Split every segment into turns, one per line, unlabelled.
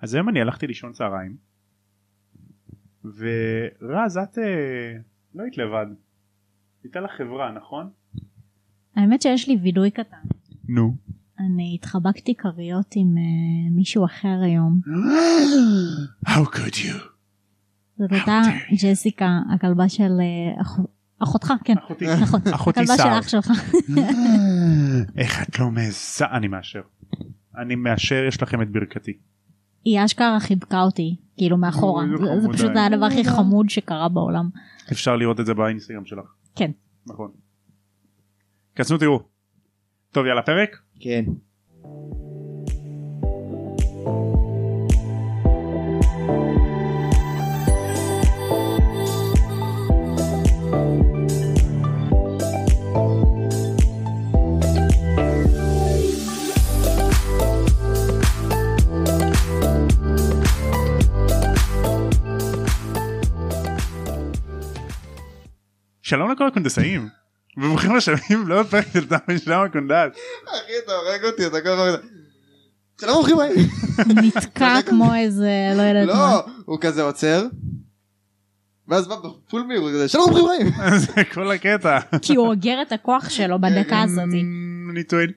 אז היום אני הלכתי לישון צהריים ורז את אה, לא היית לבד הייתה לך חברה נכון?
האמת שיש לי וידוי קטן.
נו
אני התחבקתי כריות עם אה, מישהו אחר היום.
How could you?
זאת
How
הייתה
dare you.
ג'סיקה, הכלבה של אה, אח- אחותך, כן.
אחותי
נכון.
אחותי
הכלבה של
סער
אח שלך.
איך את לא מעיזה אני מאשר אני מאשר יש לכם את ברכתי
היא אשכרה חיבקה אותי, כאילו מאחורה.
אוי, זה
זה- זה
חמוד
פשוט
די.
היה הדבר הכי חמוד שקרה בעולם.
אפשר לראות את זה באינסטגרם שלך
כן.
נכון כנסו תראו טוב יאללה פרק
כן.
שלום לכל הקונדסאים וברוכים השבים לעוד פרק של תמי שלום הקונדס
אחי אתה הורג אותי אתה כל הזמן... שלום ברוכים הבאים.
נתקע כמו איזה, לא יודעת מה.
לא, הוא כזה עוצר. ואז בא בפול מהירות כזה שלום ברוכים הבאים.
זה כל הקטע
כי הוא אוגר את הכוח שלו בדקה הזאת.
אמ, אני טוען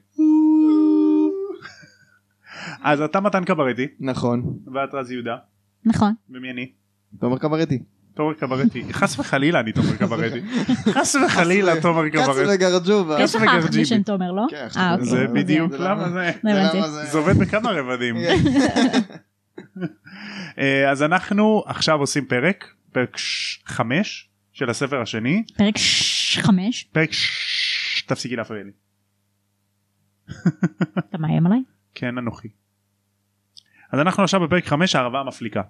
אז אתה מתן קברטי
נכון.
ואת רז יהודה
נכון.
ומי אני?
תומר קברטי.
תומר קברטי חס וחלילה אני תומר קברטי חס וחלילה תומר
קץ
קברטי
וגרג'ובה.
כסף
יש לך
וגרג'יבי.
אח בשם תומר, לא?
כן, אח שלי.
אה, אוקיי.
זה
זהו.
בדיוק
זה לא-
למה זה
לא הבנתי.
למה זה-
זה עובד בכמה רבדים אה, אז אנחנו עכשיו עושים פרק פרק 5 של הספר השני
פרק ש- חמש.
פרק ש- תפסיקי להפריע לי
אתה מאיים עליי?
כן אנוכי. אז אנחנו עכשיו בפרק 5 הערבה המפליקה.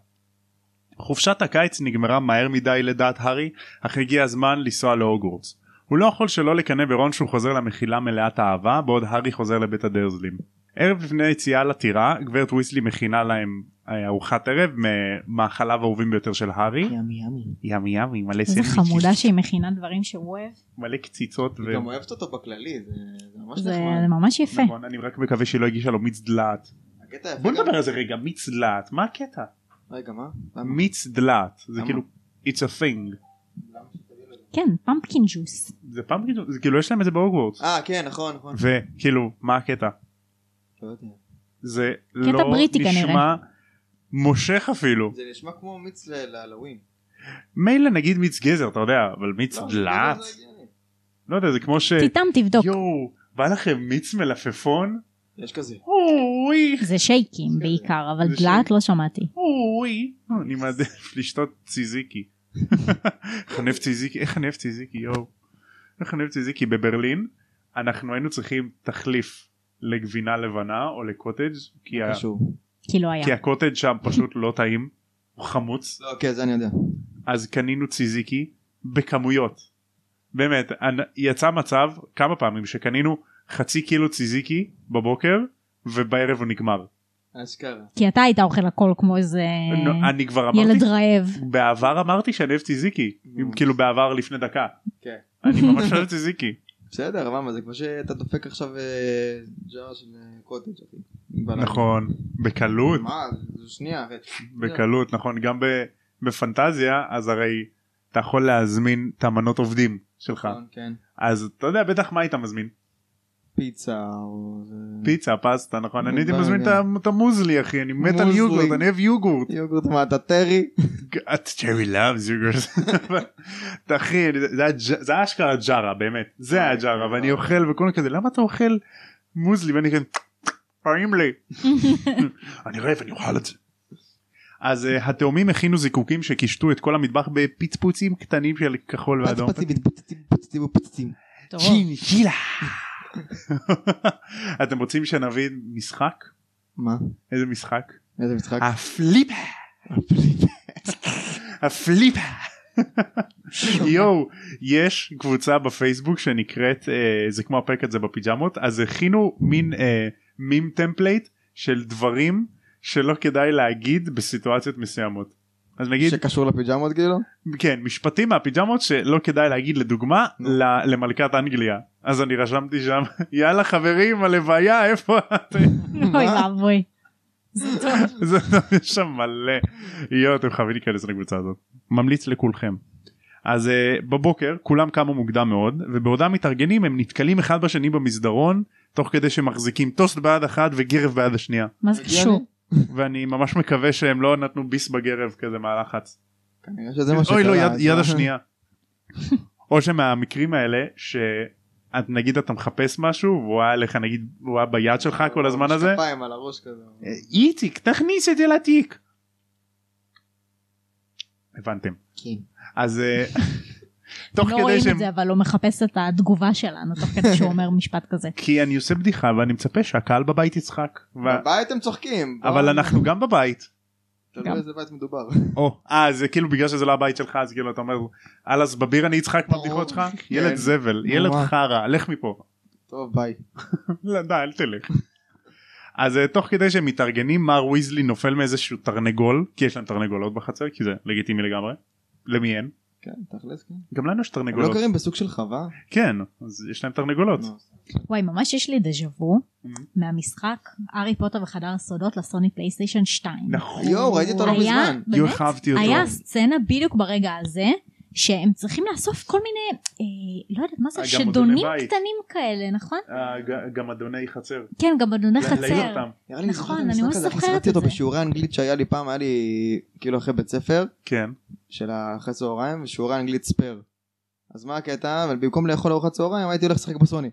חופשת הקיץ נגמרה מהר מדי לדעת הארי, אך הגיע הזמן לנסוע להוגוורטס. הוא לא יכול שלא לקנא ברון שהוא חוזר למחילה מלאת אהבה, בעוד הארי חוזר לבית הדרזלים. ערב לפני היציאה לטירה, גברת וויסלי מכינה להם אה, ארוחת ערב מ- מהחלב האהובים ביותר של הארי.
ימי ימי.
ימי ימי מלא
כן. איזה
סנדוויצ'ים,
חמודה שהיא מכינה דברים שהוא אוהב.
מלא קציצות. ו-
היא גם אוהבת אותו בכללי, זה זה ממש
זה
נחמד.
זה ממש יפה.
נכון, אני רק מקווה שהיא לא הגישה לו מיץ דלעת.
הקטע יפה
בוא
גם-
נדבר על זה רגע, מיץ דלעת, מה הקטע?
רגע, מה? למה?
מיץ דלעת זה
למה?
כאילו it's a thing
למה שתגיד לו?
כן, פמפקין ג'וס.
זה פעם ראשונה זה כאילו יש להם את זה בהוגוורטס
אה, כן, נכון, נכון.
וכאילו מה הקטע
לא יודע.
זה לא
בריטי
נשמע
כנראה.
מושך אפילו
זה נשמע כמו מיץ ל- להלווין.
מילא נגיד מיץ גזר אתה יודע אבל מיץ
לא,
דלעת
זה הגיוני.
לא יודע זה כמו ש...
תיתם תבדוק.
יואו בא לכם מיץ מלפפון
יש כזה.
אוי
זה שייקים
זה-
בעיקר, אבל
זה
דלעת לא שמעתי.
אוי לא, אני מעדיף לשתות ציזיקי חנף ציזיקי איך חנף ציזיקי יואו איך חנף ציזיקי בברלין אנחנו היינו צריכים תחליף לגבינה לבנה או לקוטג' כי, ה...
קשור.
כי לא היה.
כי הקוטג' שם פשוט לא טעים הוא חמוץ
לא, כן, זה אני יודע.
אז קנינו ציזיקי בכמויות באמת אנ- יצא מצב כמה פעמים שקנינו חצי קילו ציזיקי בבוקר ובערב הוא נגמר
אשכרה.
כי אתה היית אוכל הכל כמו איזה
אה,
אה.
נו, אני כבר אמרתי
ילד רעב.
בעבר אמרתי שאני אוהב ציזיקי אם כאילו בעבר לפני דקה
כן.
אני ממש אוהב ציזיקי
בסדר, למה? זה כמו שאתה דופק עכשיו אה, ג'אר של אה, קוטג' אחי. בלילה.
נכון בקלות
מה? זו שנייה אחי.
בקלות נכון גם ב- בפנטזיה אז הרי אתה יכול להזמין את המנות עובדים שלך
נכון, כן.
אז אתה יודע בטח מה היית מזמין
פיצה או... זה-
פיצה פסטה נכון אני הייתי
ברגר.
מזמין את ה- את המוזלי אחי אני מת על
מוזלי.
יוגורט אני אוהב יוגורט
יוגורט מטטרי.
לא את צ'רי לאבס יוגורט אחי זה הג'- זה היה אשכרה ג'ארה באמת זה היה ג'ארה ואני אוכל וכל מיני כזה למה אתה אוכל מוזלי ואני כזה טעים לי אני רעב אני אוכל את זה. אז אה, התאומים הכינו זיקוקים שקישטו את כל המטבח בפצפוצים קטנים של כחול ואדום.
פצפצים, מתפוצצים, פוצצים ופוצצים.
טוב.
צ'ינצ'ילה.
אתם רוצים שנבין משחק?
מה?
איזה משחק?
איזה משחק?
אה, הפליפה. הפליפה. יואו, יש קבוצה בפייסבוק שנקראת, אה, זה כמו הפרק הזה בפיג'מות, אז הכינו מין אה, מים טמפלייט של דברים שלא כדאי להגיד בסיטואציות מסוימות. אז נגיד,
שקשור לפיג'מות כאילו?
כן, משפטים מהפיג'מות שלא כדאי להגיד לדוגמה
נו.
ל- למלכת אנגליה. אז אני רשמתי שם, יאללה חברים, הלוויה, איפה אתם?
אוי ואבוי. זה טוב.
זה- לא, יש שם מלא יואו אתם חייבים להיכנס לקבוצה הזאת ממליץ לכולכם. אז אה, בבוקר כולם קמו מוקדם מאוד ובעודם מתארגנים הם נתקלים אחד בשני במסדרון תוך כדי שמחזיקים טוסט ביד אחת וגרב ביד השנייה
מה זה קשור?
ואני ממש מקווה שהם לא נתנו ביס בגרב כזה מהלחץ.
כנראה שזה מה שקרה.
אוי לא יד,
אז-
יד השנייה. או שמהמקרים האלה שאת נגיד אתה מחפש משהו והוא היה לך נגיד הוא היה ביד שלך כל הזמן הזה.
משקפיים אה, על הראש כזה.
אה, איציק תכניס את זה לתיק. הבנתם
כן.
אז אה, תוך
לא
כדי
רואים
שהם
את זה אבל הוא מחפש את התגובה שלנו תוך כדי שהוא אומר משפט כזה.
כי אני עושה בדיחה ואני מצפה שהקהל בבית יצחק ו-
בבית הם צוחקים.
אבל
בוא,
אנחנו גם בבית.
תלוי איזה בית מדובר.
או אה זה כאילו בגלל שזה לא הבית שלך אז כאילו אתה אומר אלאס בביר אני אצחק
ברור.
מהבדיחות שלך
כן.
ילד זבל ילד
ממש.
חרא לך מפה.
טוב ביי.
לא די אל תלך. אז אה, תוך כדי שהם מתארגנים מר ויזלי נופל מאיזשהו תרנגול כי יש להם תרנגולות בחצר כי זה לגיטימי לגמרי. למי אין?
כן, תכלס כן.
גם לנו יש
הם לא
תרנגולות.
גרים בסוג של חווה?
כן אז יש להם תרנגולות.
נו,
וואי ממש יש לי דז'ה וו
Mhm.
מהמשחק הארי פוטר וחדר הסודות לסוני פלייסטיישן 2.
נכון.
יואו, ראיתי אותו לא
היה-
מזמן.
יואו,
באמת?
איך אהבתי אותו.
היה סצנה בדיוק ברגע הזה שהם צריכים לאסוף כל מיני אה, לא יודעת מה זה
אה, גם
שדונים
אדוני בית.
קטנים כאלה נכון?
אה, ג- גם אדוני חצר.
כן גם אדוני
לה- להעיר
חצר.
אותם.
נראה לי אני זוכר את
נכון,
המשחק
אני ממש
הזה, איך
זוכרת
שחקתי
את
אותו
זה.
בשיעורי האנגלית שהיה לי פעם, היה לי כאילו אחרי בית ספר,
כן.
של אחרי צהריים, ושיעורי האנגלית ספייר. אז מה הקטע? אבל במקום לאכול ארוחת צהריים הייתי הולך לשחק בסוני.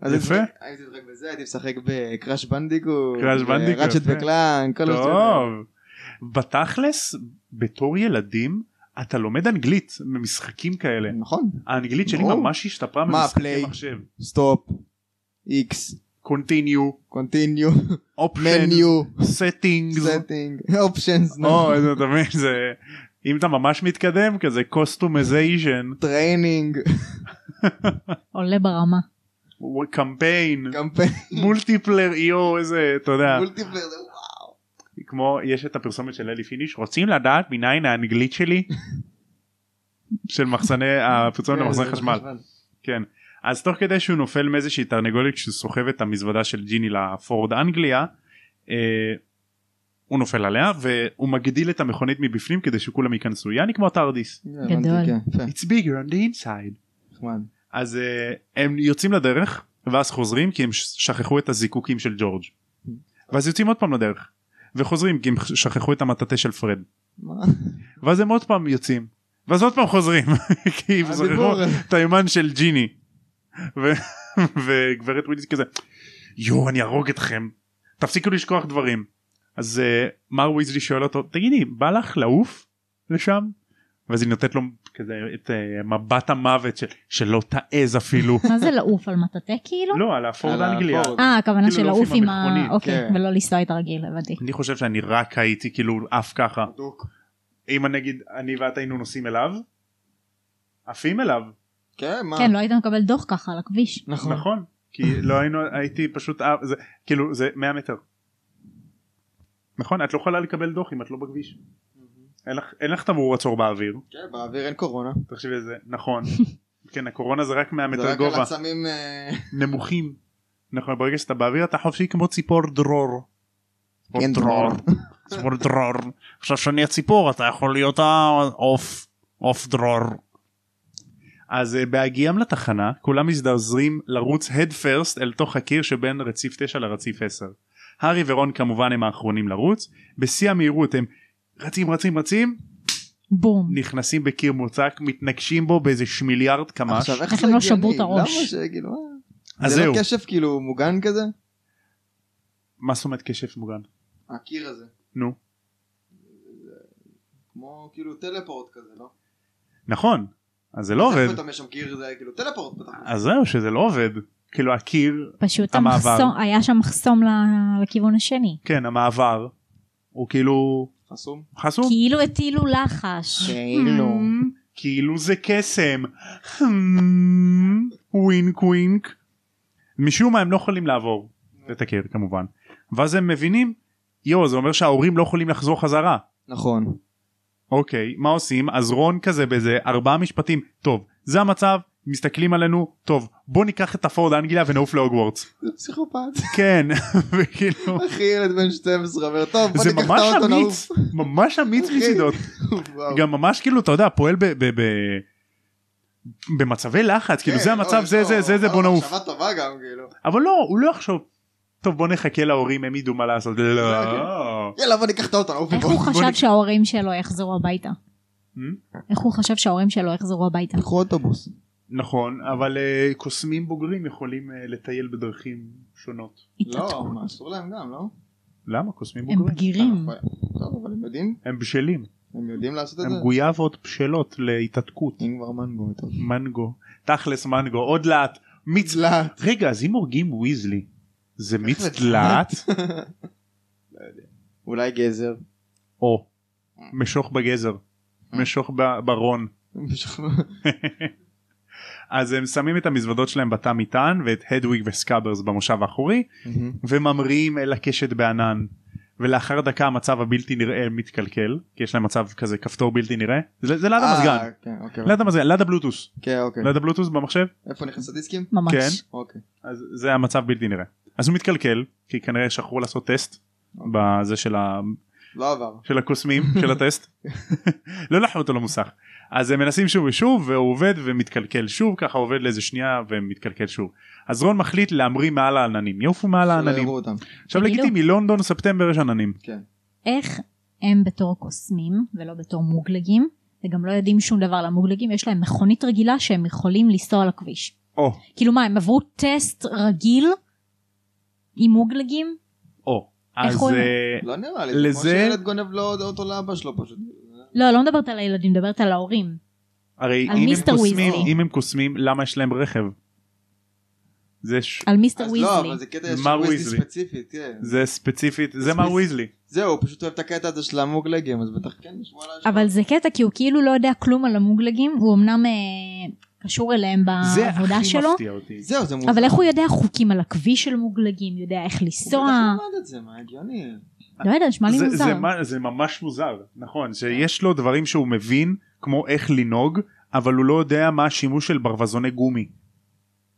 אז
יפה.
הייתי משחק בזה, הייתי משחק בקראש בנדיקו,
Crash Bandicoot,
ראצ'ט
יפה.
וקלאן, כל השטויות.
כן. טוב. בתכלס בתור ילדים אתה לומד אנגלית ממשחקים כאלה.
נכון,
האנגלית שלי
ברור.
ממש השתפרה
מה,
ממשחקי
פליי?
מחשב.
סטופ, איקס,
קונטיניו,
קונטיניו,
אופשן,
מניו,
סטינגס.
סטינג, אופשנס,
או, אז אתה מבין, זה... אם אתה ממש מתקדם כזה קוסטומזיישן,
טריינינג,
עולה ברמה.
קמפיין,
קמפיין,
מולטיפלר, יו, E איזה, אתה יודע,
מולטיפלר, זה וואו.
כמו, יש את הפרסומת של אלי פיניש, רוצים לדעת מניין האנגלית שלי? של מחסני, הפרסומת
כן,
למחסני
זה
חשמל, כן. אז תוך כדי שהוא נופל מאיזושהי תרנגולת כשהוא סוחב את המזוודה של ג'יני לפורד אנגליה, אה, הוא נופל עליה והוא מגדיל את המכונית מבפנים כדי שכולם ייכנסו, יעני כמו טרדיס.
כן, הבנתי,
גדול.
כן, יפה,
It's bigger on the inside.
נחמד.
אז אה, הם יוצאים לדרך ואז חוזרים כי הם ש- שכחו את הזיקוקים של ג'ורג' ואז יוצאים עוד פעם לדרך וחוזרים כי הם ש- שכחו את המטאטה של פרד
מה?
ואז הם עוד פעם יוצאים ואז עוד פעם חוזרים כי הם שכחו
הדיבור.
את היומן של ג'יני ו- וגברת וויליס כזה יואו אני ארוג אתכם תפסיקו לשכוח דברים אז אה, מר ויזלי שואל אותו תגידי בא לך לעוף לשם ואז היא נותנת לו כזה את אה, מבט המוות של, שלא תעז אפילו
מה זה לעוף על מטאטה כאילו?
לא על הפורד
על
האנגליה
הפורד.
אה הכוונה
כאילו
של
לעוף
לעוף
עם
עם ה...
המכונית,
אוקיי
כן.
ולא לנסוע איתה רגיל הבנתי.
אני חושב שאני רק הייתי כאילו עף ככה
אה.
בדוק.
אם נגיד אני ואת היינו נוסעים אליו עפים אליו
כן, מה?
כן לא היית מקבל דוח ככה על הכביש.
נכון.
נכון כי לא היינו הייתי פשוט עף זה כאילו זה 100 מטר. נכון את לא יכולה לקבל דוח אם את לא בכביש אין לך אין לך תמרור עצור באוויר
כן, באוויר אין קורונה.
תחשבי על זה נכון כן הקורונה זה רק 100
זה
מטר
רק על
גובה
עצמים... אה,
נמוכים נכון ברגע שאתה באוויר אתה חופשי כמו ציפור דרור.
כן, דרור.
ציפור דרור. עכשיו שאני הציפור אתה יכול להיות העוף עוף דרור. אז אה, בהגיעם לתחנה כולם מזדעזרים לרוץ הד פרסט אל תוך הקיר שבין רציף 9 לרציף 10. הארי ורון כמובן הם האחרונים לרוץ בשיא המהירות הם רצים רצים רצים
בום.
נכנסים בקיר מוצק מתנגשים בו באיזה שמיליארד קמ"ש.
עכשיו, איך
איך
זה
הם לא
הגיוני?
שברו את הראש?
למה שכאילו... מה?
אז
זה
זהו
לא קשף כאילו מוגן כזה?
מה זאת אומרת כשף מוגן?
הקיר הזה.
נו.
כמו כאילו טלפורט כזה, לא?
נכון אז זה לא עובד
אתה משם קיר זה היה כאילו טלפורט פתח.
אז זהו שזה לא עובד כאילו הקיר
פשוט
המעבר.
המחסום היה שם מחסום ל- לכיוון השני.
כן המעבר הוא כאילו
חסום.
חסום
כאילו הטילו לחש.
כאילו.
Hmm, כאילו זה קסם Hmm, ווינק ווינק משום מה הם לא יכולים לעבור את הקיר כמובן ואז הם מבינים יואו זה אומר שההורים לא יכולים לחזור חזרה
נכון.
אוקיי מה עושים אז רון כזה באיזה ארבעה משפטים טוב זה המצב מסתכלים עלינו טוב בוא ניקח את הפורד אנגליה ונעוף להוגוורטס
פסיכופת.
כן וכאילו
אחי ילד בן 12 אומר טוב בוא
זה
ניקח את
ממש
האוטו
אמיץ
נעוף.
ממש אמיץ
אחי.
מצידו
וואו.
גם ממש כאילו אתה יודע פועל ב... ב, ב במצבי לחץ כאילו
כן,
זה
לא,
המצב
יש
זה
לו-
זה זה זה
לא,
בוא נעוף
מחשבה טובה גם כאילו.
אבל לא הוא לא יחשוב טוב בוא נחכה להורים הם ידעו מה לעשות לא.
יאללה בוא ניקח את האוטו נעוף.
איך
מפה.
הוא
בוא
חשב
נק-
שההורים שלו יחזרו הביתה?
Hmm?
איך הוא חשב שההורים שלו יחזרו הביתה?
קחו אוטובוס.
נכון אבל אה, קוסמים בוגרים יכולים אה, לטייל בדרכים שונות
לא,
התעתעו.
מה, אסור להם גם לא?
Mm. למה קוסמים
הם
בוגרים
בגירים.
אה, טוב אבל הם יודעים
הם בשלים
הם יודעים לעשות את
הם
זה.
גויאבות בשלות להתעתקות
אם כבר מנגו טוב.
מנגו תכלס מנגו עוד לאט מיץ
צלעת.
רגע אז אם הורגים ויזלי זה מיץ
זה
דלעת
אולי גזר.
או
Mm.
משוך בגזר משוך ב- ברון אז הם שמים את המזוודות שלהם בתא מטען ואת הדוויג וסקאברס במושב האחורי וממריאים אל הקשת בענן ולאחר דקה המצב הבלתי נראה מתקלקל כי יש להם מצב כזה כפתור בלתי נראה זה, זה ליד המזגן
אה, כן, אוקיי.
ליד המזגן ליד הבלוטוס
כן, אוקיי.
ליד הבלוטוס במחשב
איפה נכנס הדיסקים?
כן.
ממש.
אוקיי.
אז זה המצב בלתי נראה אז הוא מתקלקל כי כנראה שכחו לעשות טסט
אוקיי.
בזה של, ה...
לא עבר.
של הקוסמים של הטסט לא לקחו אותו למוסך אז הם מנסים שוב ושוב והוא עובד ומתקלקל שוב ככה עובד לאיזה שנייה ומתקלקל שוב אז רון מחליט להמריא מעל העננים יעופו מעל
שלא
העננים
יראו אותם.
עכשיו
תגידו.
לגיטימי לונדון ספטמבר יש עננים
איך הם בתור קוסמים ולא בתור מוגלגים, וגם לא יודעים שום דבר על המוגלגים, יש להם מכונית רגילה שהם יכולים לנסוע על הכביש.
או
כאילו מה, הם עברו טסט רגיל עם מוגלגים?
או אז
הוא-
אה,
לא נראה לי.
לזה-
כמו שילד גונב לו אוטו לאבא שלו פשוט.
לא, לא מדברת על הילדים, מדברת על ההורים.
הרי
על
אם הם
מיסטר
קוסמים
ויזלי.
אם הם קוסמים למה יש להם רכב. זה ש-
על מיסטר
אז לא,
ויזלי.
אבל זה קטע
מר
של ויזלי
ויזלי.
ספציפית, כן.
זה ספציפית זה
אז
מר
מיס-
ויזלי
זהו, הוא פשוט אוהב את הקטע הזה של המוגלגים, אז בטח כן נשמע עליו.
אבל זה קטע כי הוא כאילו לא יודע כלום על המוגלגים, הוא אמנם אה, קשור אליהם
זה הכי
בעבודה אה, שלו,
מפתיע אותי.
זהו, זה מוזר.
אבל איך הוא יודע חוקים על הכביש של מוגלגים, יודע איך
הוא בטח
לנסוע,
למד את זה, מה הגיוני.
לא יודע, נשמע לי
זה-
מוזר.
זה מה- זה ממש מוזר נכון שיש לו דברים שהוא מבין כמו איך לנהוג אבל הוא לא יודע מה השימוש של ברווזוני גומי.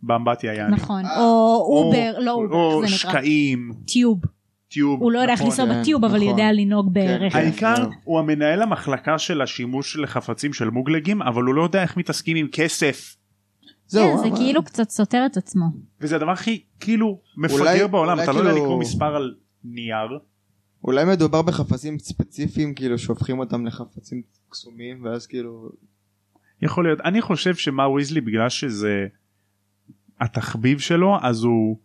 באמבטיה יעני.
נכון,
אה,
או
או-
אובר, לא
או
אובר, איך זה נקרא,
שקעים
טיוב.
טיוב.
הוא לא יודע איך
נכון.
לנסוע
כן,
בטיוב, אבל
נכון.
יודע לנהוג ברכב.
כן.
העיקר
זהו.
הוא המנהל המחלקה של השימוש לחפצים של מוגלגים אבל הוא לא יודע איך מתעסקים עם כסף
זהו,
כן, זה
אבל-
כאילו קצת סותר את עצמו.
וזה הדבר הכי כאילו מפגר
אולי-
בעולם
אולי
אתה לא יודע
כאילו-
לקרוא מספר על נייר
אולי מדובר בחפצים ספציפיים, כאילו שהופכים אותם לחפצים קסומים, ואז כאילו...
יכול להיות אני חושב שמר ויזלי בגלל שזה התחביב שלו אז הוא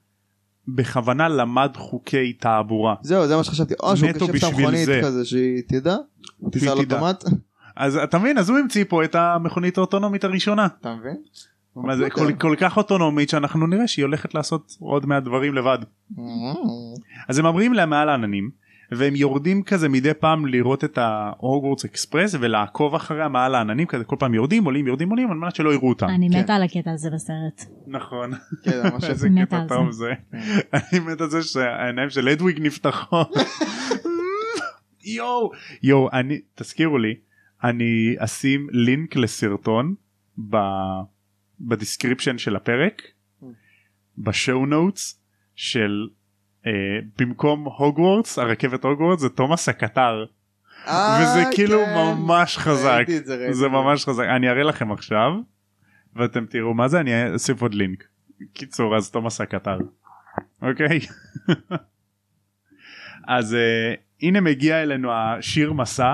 בכוונה למד חוקי תעבורה
זהו, זה מה שחשבתי. או שהוא
נטו
קשב את
בשביל
המכונית
זה.
כזה, שהיא תדע, תיסע על
תדע.
אוטומט.
אז אתה מבין אז הוא המציא פה את המכונית האוטונומית הראשונה
אתה מבין?
מה זה כל, כל כך אוטונומית שאנחנו נראה שהיא הולכת לעשות עוד מעט דברים לבד אז הם ממריאים להם מעל העננים והם יורדים כזה מדי פעם לראות את ההוגוורטס אקספרס ולעקוב אחריה מעל העננים כזה כל פעם יורדים עולים יורדים עולים על מנת שלא יראו אותם
אני
כן.
מתה על הקטע הזה בסרט.
נכון
כן, זה ממש...
איזה
מתה
קטע
על זה.
טוב זה אני מת על זה שהעיניים של אדוויג נפתחות יואו יואו אני תזכירו לי אני אשים לינק לסרטון ב... בדיסקריפשן של הפרק בשואו נוטס של אה, במקום הוגוורטס הרכבת הוגוורטס זה תומאס הקטר
אה,
וזה כאילו
כן.
ממש חזק
ראיתי את זה, ראיתי
זה
את
ממש חזק אני אראה לכם עכשיו ואתם תראו מה זה אני אוסיף עוד לינק קיצור אז תומאס הקטר אוקיי אז אה, הנה מגיע אלינו השיר מסע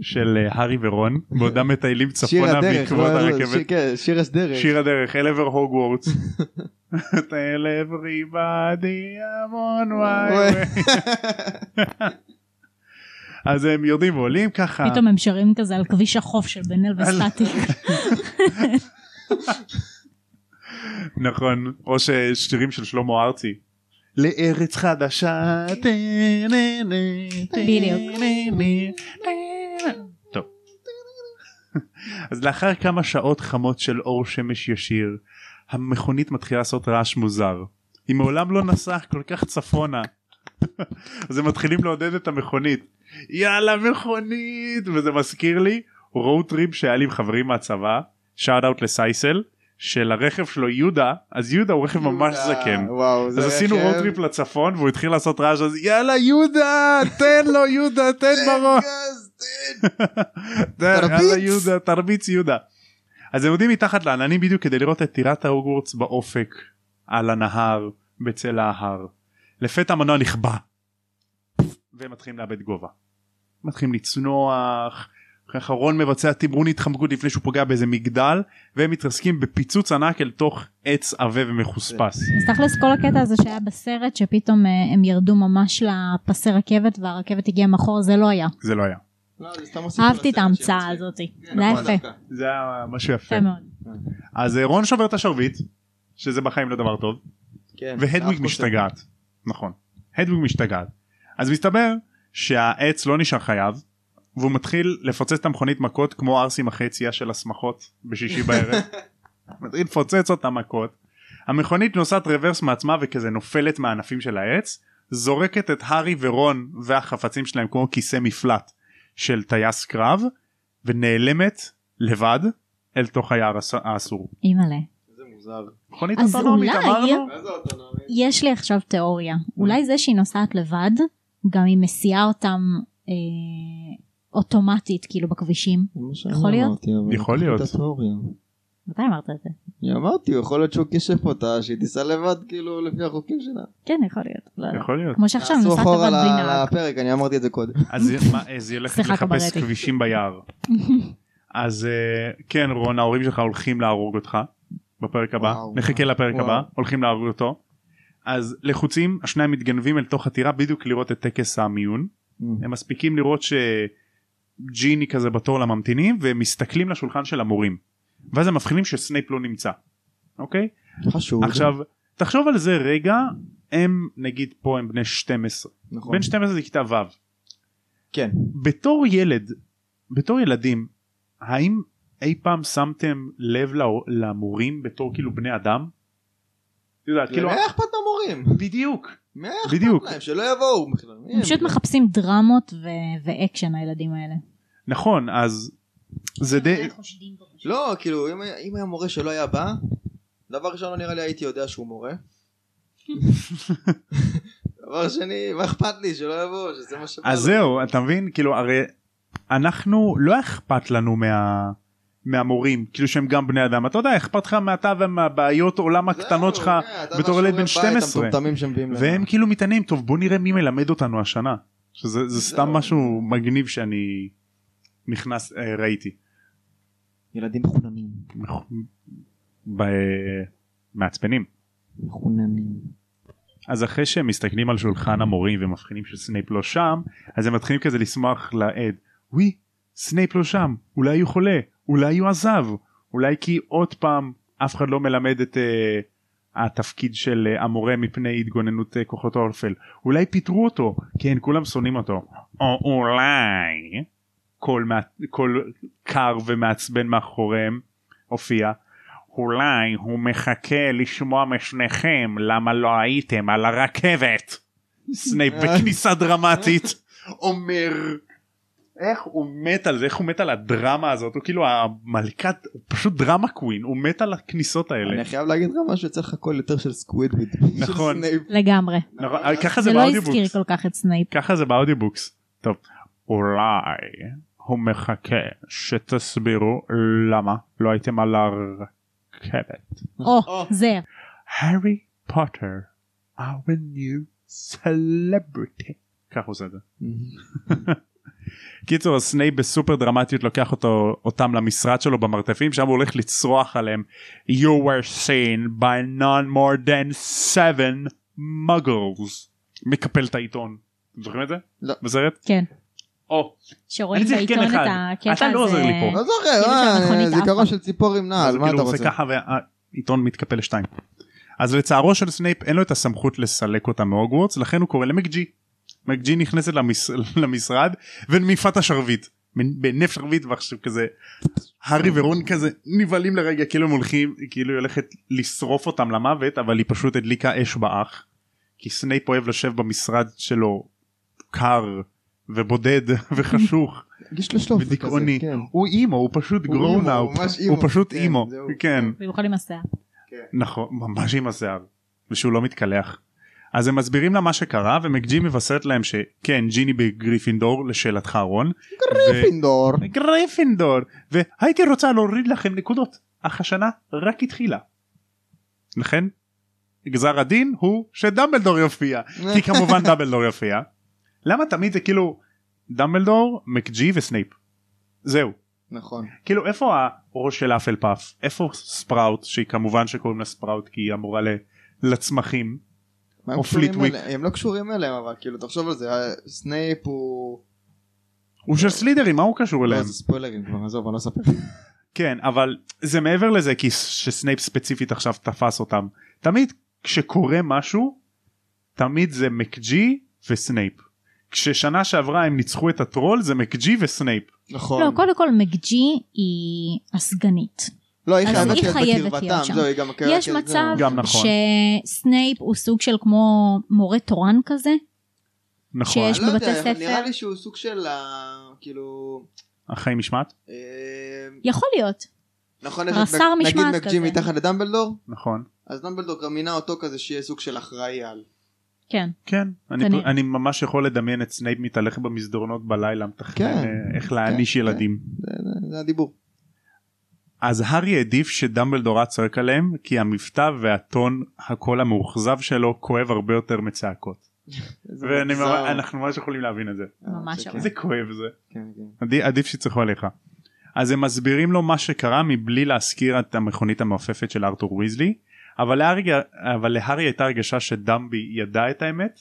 של אה, הארי ורון בעודם מטיילים
שיר
צפונה
הדרך,
בעקבות
לא, לא, שיר-
הרכבת
כן, שיר הדרך.
שיר הדרך אל עבר הוגוורטס אל everybody המון וואי אז הם יורדים ועולים ככה
פתאום הם שרים כזה על כביש החוף של בן אל וסטטיק.
נכון או ששירים של שלמה ארצי. לארץ חדשה תה, נה, נה, תה,
בדיוק.
נה, נה, תה, נה. טוב. אז לאחר כמה שעות חמות של אור שמש ישיר המכונית מתחילה לעשות רעש מוזר היא מעולם לא נסעה כל כך צפונה אז הם מתחילים לעודד את המכונית יאללה מכונית וזה מזכיר לי road trip שהיה לי עם חברים מהצבא שאט אאוט לסייסל שלרכב שלו יהודה אז יהודה הוא רכב ממש
יהודה,
זקן.
אה, וואו, זה
אז עשינו
רכב.
רוד טריפ לצפון והוא התחיל לעשות רעש אז יאללה יהודה תן לו יהודה תן בראש.
גז, תן.
תן,
תרביץ.
יאללה יהודה תרביץ יהודה. אז הם עומדים מתחת לעננים בדיוק כדי לראות את טירת ההוגוורטס באופק על הנהר בצל ההר. לפתע המנוע נכבה. והם מתחילים לאבד גובה. מתחילים לצנוח. האחרון מבצע תמרון התחמקות לפני שהוא פוגע באיזה מגדל והם מתרסקים בפיצוץ ענק אל תוך עץ עבה ומחוספס.
אז תכלס כל הקטע הזה שהיה בסרט שפתאום אה, הם ירדו ממש לפסי רכבת והרכבת הגיעה מאחור זה לא היה.
זה לא היה.
לא, זה סתם מוסיף
אהבתי את
לסרט
ההמצאה
שיהיה
הזאת.
מצחיק.
זה היה
נכון,
יפה.
דווקא.
זה היה משהו יפה.
יפה מאוד.
אז אה, רון שובר את השרביט שזה בחיים לא דבר טוב.
כן,
והדוויג
אף
משתגעת נכון הדוויג משתגעת אז מסתבר שהעץ לא נשאר חייב והוא מתחיל לפוצץ את המכונית מכות כמו ארסים אחרי יציאה של השמחות בשישי בערב מתחיל לפוצץ אותה מכות המכונית נוסעת רוורס מעצמה וכזה נופלת מהענפים של העץ זורקת את הארי ורון והחפצים שלהם כמו כיסא מפלט של טייס קרב ונעלמת לבד אל תוך היער הס- האסור.
אימא'לה.
קוסם. זה מוזר.
מכונית
אז
אוטונומית
אולי-
אמרנו?
מה זה אוטונומי?
יש לי עכשיו תיאוריה.
Mm.
אולי זה שהיא נוסעת לבד גם היא מסיעה אותם אה, אוטומטית כאילו בכבישים. יכול להיות?
יכול להיות.
מתי אמרת את זה?
אני אמרתי, יכול להיות שהוא כישף אותה, שהיא תיסע לבד, כאילו, לפי החוקים שלה.
כן יכול להיות. לא יודעת.
יכול להיות.
כמו שעכשיו
תעשו
נוסעת
אחורה
לבד בלי
ל-
נהג.
לפרק, אני אמרתי את זה קודם.
אז היא- מה, אה, אז היא הולכת
סליחה,
לחפש
קברטי.
כבישים ביער. אז אה, כן רון ההורים שלך הולכים להרוג אותך בפרק הבא
וואו.
נחכה לפרק
וואו.
הבא הולכים להרוג אותו. אז לחוצים השניים מתגנבים אל תוך הטירה בדיוק לראות את טקס המיון הם מספיקים לראות שג'יני כזה בתור לממתינים והם מסתכלים לשולחן של המורים ואז הם מבחינים שסנייפ לא נמצא. אוקיי
חשוב.
עכשיו תחשוב על זה רגע הם נגיד פה הם בני 12
נכון.
בן 12 זה כיתה ו'
כן.
בתור ילד בתור ילדים האם אי פעם שמתם לב לאו- למורים בתור כאילו בני אדם? את יודעת כאילו
כאילו, מה אכפת מהמורים?
בדיוק
מה אכפת
בדיוק.
להם? שלא יבואו בכלל. מי
כן.
הם פשוט
בכלל?
מחפשים דרמות ו- ואקשן הילדים האלה.
נכון אז זה די
לא, כאילו, אם היה- אם היה מורה שלא היה בא, דבר ראשון לא נראה לי הייתי יודע שהוא מורה. דבר שני, מה אכפת לי שלא יבואו, שזה מה שבא
אז
לו.
זהו אתה מבין כאילו הרי אנחנו לא אכפת לנו מה מהמורים כאילו שהם גם בני אדם אתה יודע אכפת לך מעתה ומהבעיות עולם
זהו,
הקטנות שלך
כן,
בתור
אתה מהשיעורי
ילד בן
בית,
12.
המטומטמים שמביאים לנו.
והם כאילו מתעניינים טוב בוא נראה מי מלמד אותנו השנה שזה זה סתם
זהו.
משהו מגניב שאני נכנס אה, ראיתי.
ילדים מחוננים.
ב... מעצבנים
מחוננים.
אז אחרי שהם מסתכלים על שולחן המורים ומבחינים שסנייפ לא שם אז הם מתחילים כזה לשמוח לעד ווי סנייפ לא שם אולי הוא חולה אולי הוא עזב אולי כי עוד פעם אף אחד לא מלמד את אה, התפקיד של אה, המורה מפני התגוננות אה, כוחות האופל אולי פיטרו אותו כן כולם שונאים אותו או אולי קול, מה, קול קר ומעצבן מאחוריהם הופיע אולי הוא מחכה לשמוע משניכם למה לא הייתם על הרכבת. סנייפ בכניסה דרמטית אומר איך הוא מת על זה איך הוא מת על הדרמה הזאת הוא כאילו המלכת הוא פשוט דרמה קווין הוא מת על הכניסות האלה.
אני חייב להגיד לך משהו, יצא לך קול יותר של סקווידוויד.
נכון.
של סנייפ.
לגמרי.
נכון, ככה זה
זה לא
באודיובוקס.
הזכיר כל כך את סנייפ.
ככה זה באודיובוקס. טוב, אולי הוא מחכה שתסבירו למה לא הייתם על הרכבת. אה.
או, זה.
הארי פוטר, our new celebrity. ככה הוא עושה את זה.
Mm-hmm.
קיצור אז סנייפ בסופר דרמטיות לוקח אותו אותם למשרד שלו במרתפים שם הוא הולך לצרוח עליהם you were seen by none more than seven muggles מקפל את העיתון. אתם זוכרים את זה?
לא.
בסרט?
כן.
או.
שרואים
אני צריך
בעיתון
כן
את
אחד.
הקטע הזה.
אתה לא עוזר לי פה.
לא
כאילו
זוכר,
שהמכונית
אה,
עפה.
זיכרון של ציפור עם
אז
נעל, מה
כאילו
אתה
הוא עושה
רוצה?
ככה והעיתון מתקפל לשתיים. אז לצערו של סנייפ אין לו את הסמכות לסלק אותה מהוגוורטס לכן הוא קורא למקג'י. מקג'י נכנסת למש... למשרד ונמיפה את השרביט. מנ- בהינף שרביט ועכשיו כזה הארי ורון כזה נבהלים לרגע כאילו הם הולכים כאילו היא הולכת לשרוף אותם למוות אבל היא פשוט הדליקה אש באח. כי סנייפ אוהב לשב במשרד שלו קר ובודד וחשוך
גיש לשלוף. כזה,
ודיכאוני.
כן.
הוא אימו הוא פשוט
הוא אימו,
grown
הוא
up
ממש
הוא
אימו.
פשוט
כן,
אימו
זהו.
כן
במיוחד עם השיער.
נכון, ממש עם השיער, ושהוא לא מתקלח. אז הם מסבירים לה מה שקרה, ומקג'י מבשרת להם שכן, ג'יני בגריפינדור, לשאלתך רון.
גריפינדור.
אה, גריפינדור! והייתי רוצה להוריד לכם נקודות, אך השנה רק התחילה. לכן, גזר הדין הוא שדמבלדור יופיע,
אה,
כי כמובן דמבלדור יופיע. למה תמיד זה כאילו דמבלדור, מקג'י וסנייפ. זהו.
נכון.
כאילו איפה הראש של אפל פאף איפה ספראוט שהיא כמובן שקוראים לה ספראוט כי היא אמורה ל... לצמחים
מה הם
או
קשורים
פליטוויק.
אליהם? הם לא קשורים אליהם אבל כאילו תחשוב על זה ה- סנייפ הוא...
הוא של סלידרי מה הוא קשור
לא
אליהם
זה ספוילרים כבר עזוב אני לא אספר.
כן אבל זה מעבר לזה כי ס- שסנייפ ספציפית עכשיו תפס אותם תמיד כשקורה משהו תמיד זה מקג'י וסנייפ כששנה שעברה הם ניצחו את הטרול זה מקג'י וסנייפ
נכון.
לא, קודם כל מקג'י היא הסגנית.
לא היא
אז
חייבת
היא חייבת
להיות
להיות
בקרבתם.
שם.
זהו, היא גם הקרבת
יש
ילד,
מצב
גם נכון.
שסנייפ הוא סוג של כמו מורה תורן כזה,
נכון
שיש-
אני לא
בבתי
יודע, אבל
ספר.
נראה לי שהוא סוג של ה- כאילו
אחרי משמעת
אה,
יכול להיות.
נכון יש
רס"ר
את מק- נגיד
משמעת
מקג'י
כזה.
מתחת לדמבלדור
נכון
אז דמבלדור גם מינה אותו כזה שיהיה סוג של אחראי על
כן.
כן אני,
כנראה.
אני ממש יכול לדמיין את סנייפ מתהלך במסדרונות בלילה מתכנן
כן.
אה, איך להעניש
כן.
ילדים
זה- זה- זה הדיבור.
אז הארי העדיף שדמבלדור היה צועק עליהם כי המבטא והטון הקול המאוכזב שלו כואב הרבה יותר מצעקות.
זה מוגזם.
ואנחנו ממש יכולים להבין את זה.
אה,
ממש
זה
אבל.
איזה כואב זה.
כן, כן.
עדי- עדיף שיצחקו עליך. אז הם מסבירים לו מה שקרה מבלי להזכיר את המכונית המעופפת של ארתור ויזלי אבל להארי, אבל להארי הייתה הרגשה שדמבי ידע את האמת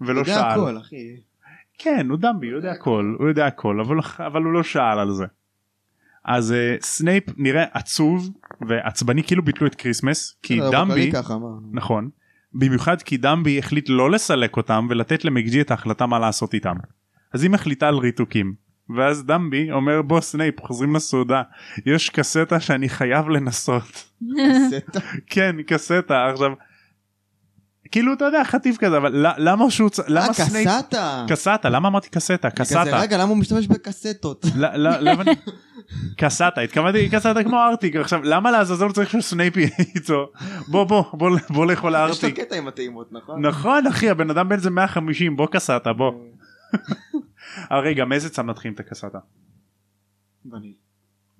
ולא
יודע
שאל.
הכל, אחי.
כן הוא דמבי הוא יודע
אוקיי.
הכל הוא יודע הכל אבל, אבל הוא לא שאל על זה. אז uh, סנייפ נראה עצוב ועצבני כאילו ביטלו את כריסמס כי
בסדר,
דמבי
בכללי ככה, מה?
נכון במיוחד כי דמבי החליט לא לסלק אותם ולתת למקג'י את ההחלטה מה לעשות איתם. אז היא מחליטה על ריתוקים ואז דמבי אומר בוא סנייפ חוזרים לסעודה יש קסטה שאני חייב לנסות
סטה.
כן קסטה עכשיו. כאילו אתה יודע חטיף כזה אבל ל- למה שהוא צ-
אה,
למה סנייפ
קסטה.
קסטה למה אמרתי קסטה
כזה,
קסטה
רגע, למה הוא משתמש בקסטות?
לא- לא- לא הבנתי. קסטה התכוונתי קסטה כמו ארטיק עכשיו למה לעזאזל צריך שסנייפ יהיה איתו בוא בוא בוא בוא לאכול
יש לו
ארטיק
קטע עם הטעימות, נכון?
נכון אחי הבן אדם בן זה 150 בוא קסטה בוא אה, רגע מאיזה צד מתחילים את הקסטה
ואני-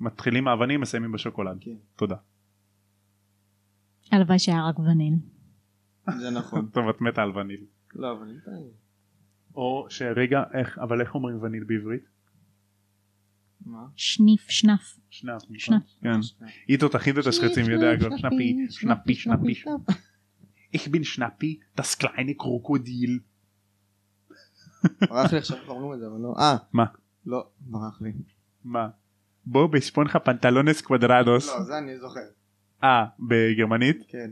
מתחילים מאבנים מסיימים בשוקולד
כן.
תודה
הלוואי שהיה רק וניל.
זה נכון.
טוב את מתה על וניל
לא, אבל אין טעם.
או שרגע איך אבל איך אומרים וניל בעברית
מה?
שניף, שנף.
שנאפ נכון?
שנאפ.
כן היא תותחית את השחצים יודע הכל שנאפי שנאפי שנאפי איך בין שנאפי דס קליין קרוקודיל
ברח לי עכשיו איך אומרים את זה, אבל לא. אה.
מה?
לא, ברח לי.
מה? בוא בספונחה פנטלונס קוודרדוס.
לא, זה אני זוכר.
אה, בגרמנית.
כן.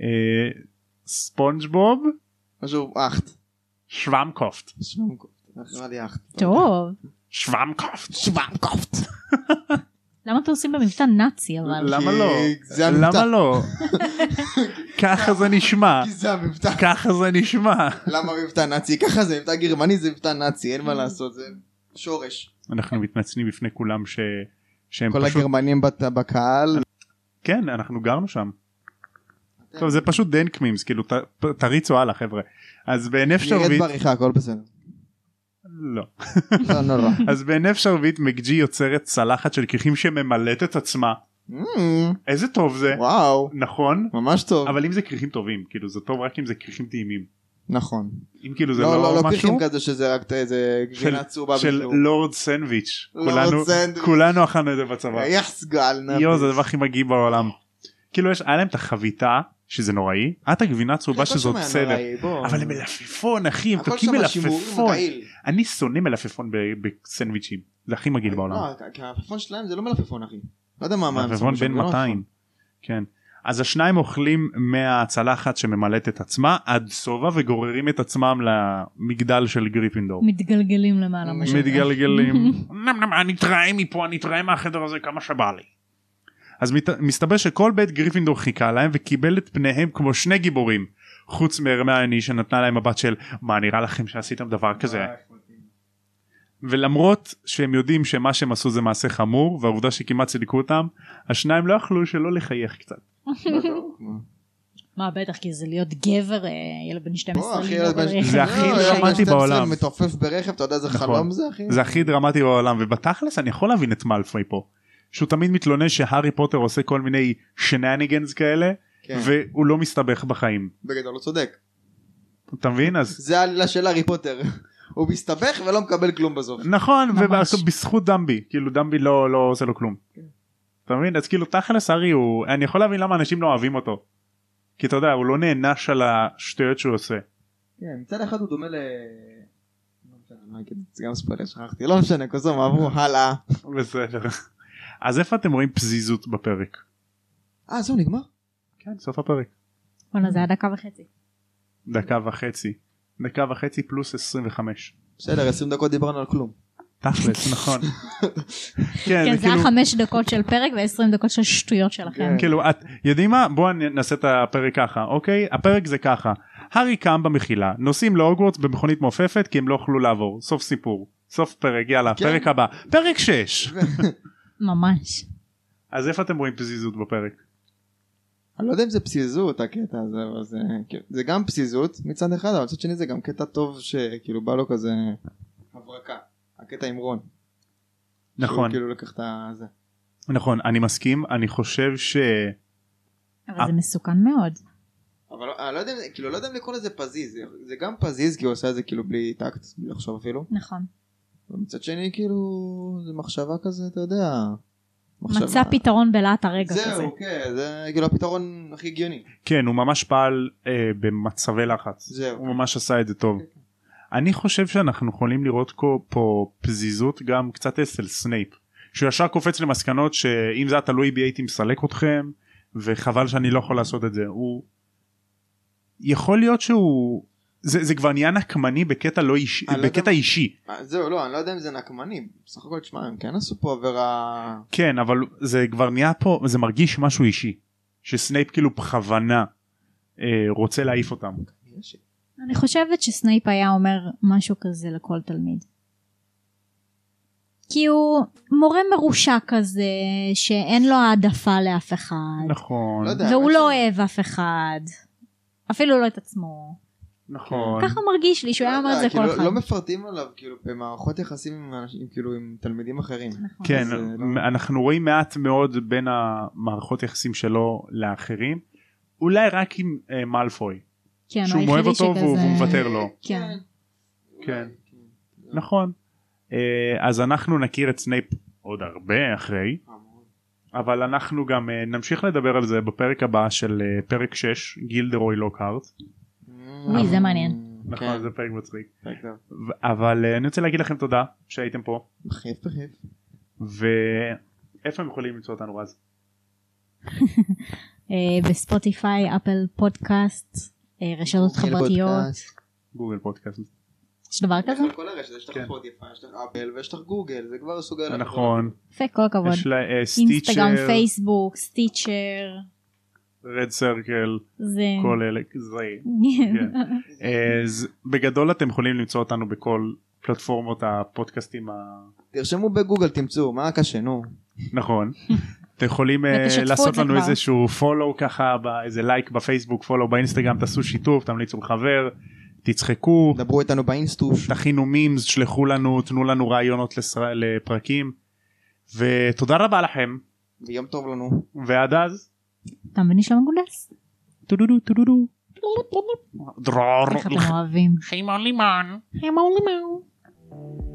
אה, ספונג'בוב
משהו, אכט.
שוואמקופט.
שוואמקופט. נראה לי אכט.
טוב.
שוואמקופט.
שוואמקופט.
למה אתם עושים במבטא נאצי אבל?
למה לא?
כי זה המבטא.
למה לא? ככה זה נשמע.
כי זה המבטא.
ככה זה נשמע.
למה מבטא נאצי? ככה זה מבטא גרמני זה מבטא נאצי, אין מה לעשות, זה שורש.
אנחנו מתנצלים בפני כולם ש... שהם
כל
פשוט...
הגרמנים בת- בקהל.
כן, אנחנו גרנו שם.
כן.
טוב, זה פשוט דנק מימס, כאילו, ת- פ- תריצו הלאה חבר'ה. אז בהינף
נראית
שרביט...
בעריכה, הכל בסדר.
לא.
לא נורא.
אז בהינף שרביט מקג'י יוצרת צלחת של כיכים שממלאת את עצמה.
Mm,
איזה טוב זה.
וואו,
נכון
ממש טוב.
אבל אם זה כריכים טובים כאילו זה טוב רק אם זה כריכים טעימים
נכון.
אם כאילו זה
לא, לא, לא
משהו
כריכים כזה שזה רק איזה גבינה צהובה
של לא,
בכלום.
לורד סנדוויץ'
לורד
כולנו-
סנדוויץ'.
כולנו אכלנו את זה בצבא
יחס גל
יואו זה הדבר הכי מגעיל בעולם כאילו יש היה להם את החביתה שזה נוראי את הגבינה הצהובה שזה עוד בסדר אבל הם מלפפון אחי הם
הכל
תוקעים
שם השימורים הוא
מלפפון
רעיל.
אני שונא מלפפון ב- בסנדוויצ'ים זה הכי מגעיל בעולם
לא, כי המלפפון שלהם זה לא מלפפון אחי. לא יודע מה מה הם
מלפפון
שמו שם,
בין
זה לא
200
מלפפון.
כן אז השניים אוכלים מהצלחת שממלאת את עצמה עד שובע וגוררים את עצמם למגדל של גריפינדור
מתגלגלים למעלה.
לא.
מה שנקרא.
מתגלגלים נם, נם, אני אתראה מפה אני אתראה מהחדר הזה כמה שבא לי. אז מת... מסתבר שכל בית גריפינדור חיכה להם וקיבל את פניהם כמו שני גיבורים
אה,
חוץ מהרמיוני שנתנה להם מבט של מה נראה לכם שעשיתם דבר כזה ולמרות שהם יודעים שמה שהם עשו זה מעשה חמור והעובדה שכמעט צדקו אותם השניים לא יכלו שלא לחייך קצת.
לא טוב, מה.
מה בטח כי זה להיות גבר אה, ילד בן 12
בוא, אחי,
להיות
ילד בן-
ברכב.
זה הכי
לא, ילד בן
דרמטי
12
בעולם.
מתעופף ברכב, אתה יודע איזה
נכון.
חלום זה, אחי?
זה הכי דרמטי בעולם ובתכלס אני יכול להבין את מאלפוי פה שהוא תמיד מתלונן שהארי פוטר עושה כל מיני שנניגנס כאלה
כן.
והוא לא מסתבך בחיים
בגדול הוא צודק.
אתה מבין אז
זה העלילה של הארי פוטר. הוא מסתבך ולא מקבל כלום בסוף.
נכון
ממש.
ובזכות דמבי כאילו דמבי לא לא עושה לו כלום. אתה מבין אז כאילו תכלס ארי הוא אני יכול להבין למה אנשים לא אוהבים אותו. כי אתה יודע הוא לא נענש על השטויות שהוא עושה.
כן, מצד אחד הוא דומה ל... לא משנה, מה אגיד? זה גם ספוילר, שכחתי. לא משנה, קוזום, עברו, הלאה.
בסדר. אז איפה אתם רואים פזיזות בפרק?
אה, זהו, נגמר?
כן סוף הפרק.
בואנה זה היה דקה וחצי.
אה,
דקה וחצי. דקה וחצי פלוס 25.
בסדר, 20 דקות דיברנו על כלום.
תכלס נכון. כן
כן
זה
זה היה
כאילו.
חמש דקות של פרק ועשרים דקות של שטויות שלכם.
כן.
כאילו את יודעים מה בוא אני- נעשה את הפרק ככה אוקיי הפרק זה ככה הארי קם במחילה נוסעים להוגוורטס במכונית מעופפת כי הם לא יוכלו לעבור סוף סיפור סוף פרק יאללה
כן.
פרק הבא פרק 6
ממש.
אז איפה אתם רואים פזיזות בפרק
אני לא יודע אם זה פזיזות הקטע הזה, אבל זה, כאילו, זה גם פזיזות מצד אחד, אבל מצד שני זה גם קטע טוב שכאילו בא לו כזה הברקה, הקטע עם רון. שהוא
נכון
כאילו לקח את הזה.
נכון אני מסכים אני חושב ש...
אה.
אבל זה מסוכן מאוד.
אבל לא- אני לא יודע, אם זה- כאילו לא יודע אם לקרוא לזה פזיז, זה- זה גם פזיז כי הוא עושה את זה כאילו בלי טקט, בלי לחשוב אפילו.
נכון.
ומצד שני כאילו זה מחשבה כזה, אתה יודע. מחשבה-
מצא פתרון בלהט הרגע כזה.
זהו, כן, זה כאילו הפתרון הכי הגיוני.
כן הוא ממש פעל אה, במצבי לחץ
זהו.
הוא ממש עשה את זה טוב. אני חושב שאנחנו יכולים לראות פה, פה פזיזות גם קצת אצל סנייפ שהוא ישר קופץ למסקנות שאם זה היה תלוי בי הייתי מסלק אתכם וחבל שאני לא יכול לעשות את זה הוא יכול להיות שהוא זה, זה כבר נהיה נקמני בקטע לא אישי
אני לא יודע
בקטע
מה-
אישי
אה, זהו, לא, אני לא יודע אם זה נקמני, בסך הכל תשמע, הם כן עשו פה עבירה...
כן אבל זה כבר נהיה פה זה מרגיש משהו אישי שסנייפ כאילו בכוונה אה, רוצה להעיף אותם
יש-
אני חושבת שסנייפ היה אומר משהו כזה לכל תלמיד. כי הוא מורה מרושע כזה שאין לו העדפה לאף אחד.
נכון
לא יודע.
והוא
האמת
לא
ש-
אוהב אף אחד. אפילו לא את עצמו.
נכון
ככה מרגיש לי שהוא היה אומר את זה
כאילו,
כל אחד.
לא מפרטים עליו כאילו במערכות יחסים עם אנשים כאילו עם תלמידים אחרים.
נכון.
כן,
אז, אה,
מ- אנחנו רואים מעט מאוד בין המערכות יחסים שלו לאחרים, אולי רק עם אה, מאלפוי,
כן, הוא
שהוא אוהב
היחידי
אותו והוא והוא
שכזה-
מוותר לו,
כן.
כן.
אולי,
נכון. אה, אז אנחנו נכיר את סנייפ עוד הרבה אחרי,
חמוד.
אבל אנחנו גם אה, נמשיך לדבר על זה בפרק הבא של אה, פרק 6, גילדרוי לוקהארט,
אוי, זה מעניין.
נכון
אמ, כן,
זה פרק מצחיק,
פרק טוב.
ו- אבל אה, אני רוצה להגיד לכם תודה שהייתם פה,
בחייב בחייב.
ואיפה הם יכולים למצוא אותנו רז?
אה, בספוטיפיי, אפל פודקאסט, אה, רשתות
אוקיי,
חברתיות.
פודקאסט.
גוגל פודקאסט.
יש דבר
יש
כזה?
לך כל הרשת, יש לך
כן.
פוטיפיי, יש לך אפל ויש לך גוגל, זה כבר סוגר לך.
נכון,
יפה, כל הכבוד.
יש לה אה, סטיצ'ר,
אינסטגרם, פייסבוק, סטיצ'ר.
רד סרקל,
זה...
כל כן. אלה זה. אז בגדול אתם יכולים למצוא אותנו בכל פלטפורמות הפודקאסטים ה...
תרשמו בגוגל תמצאו מה קשה נו.
נכון. אתם יכולים אה,
ותשתפו את
לעשות
זה
לנו
כבר.
איזשהו follow ככה בא- איזה לייק בפייסבוק follow באינסטגרם תעשו שיתוף תמליצו לחבר תצחקו
דברו איתנו באינסטוש.
תכינו מימס שלחו לנו תנו לנו רעיונות לשר- לפרקים ותודה רבה לכם
ויום טוב לנו.
ועד אז
תם ונשלם גולס.
טו דו דו טו דו דו דרור
איך אתם אוהבים.
Shame on Limon.
הם אומרים.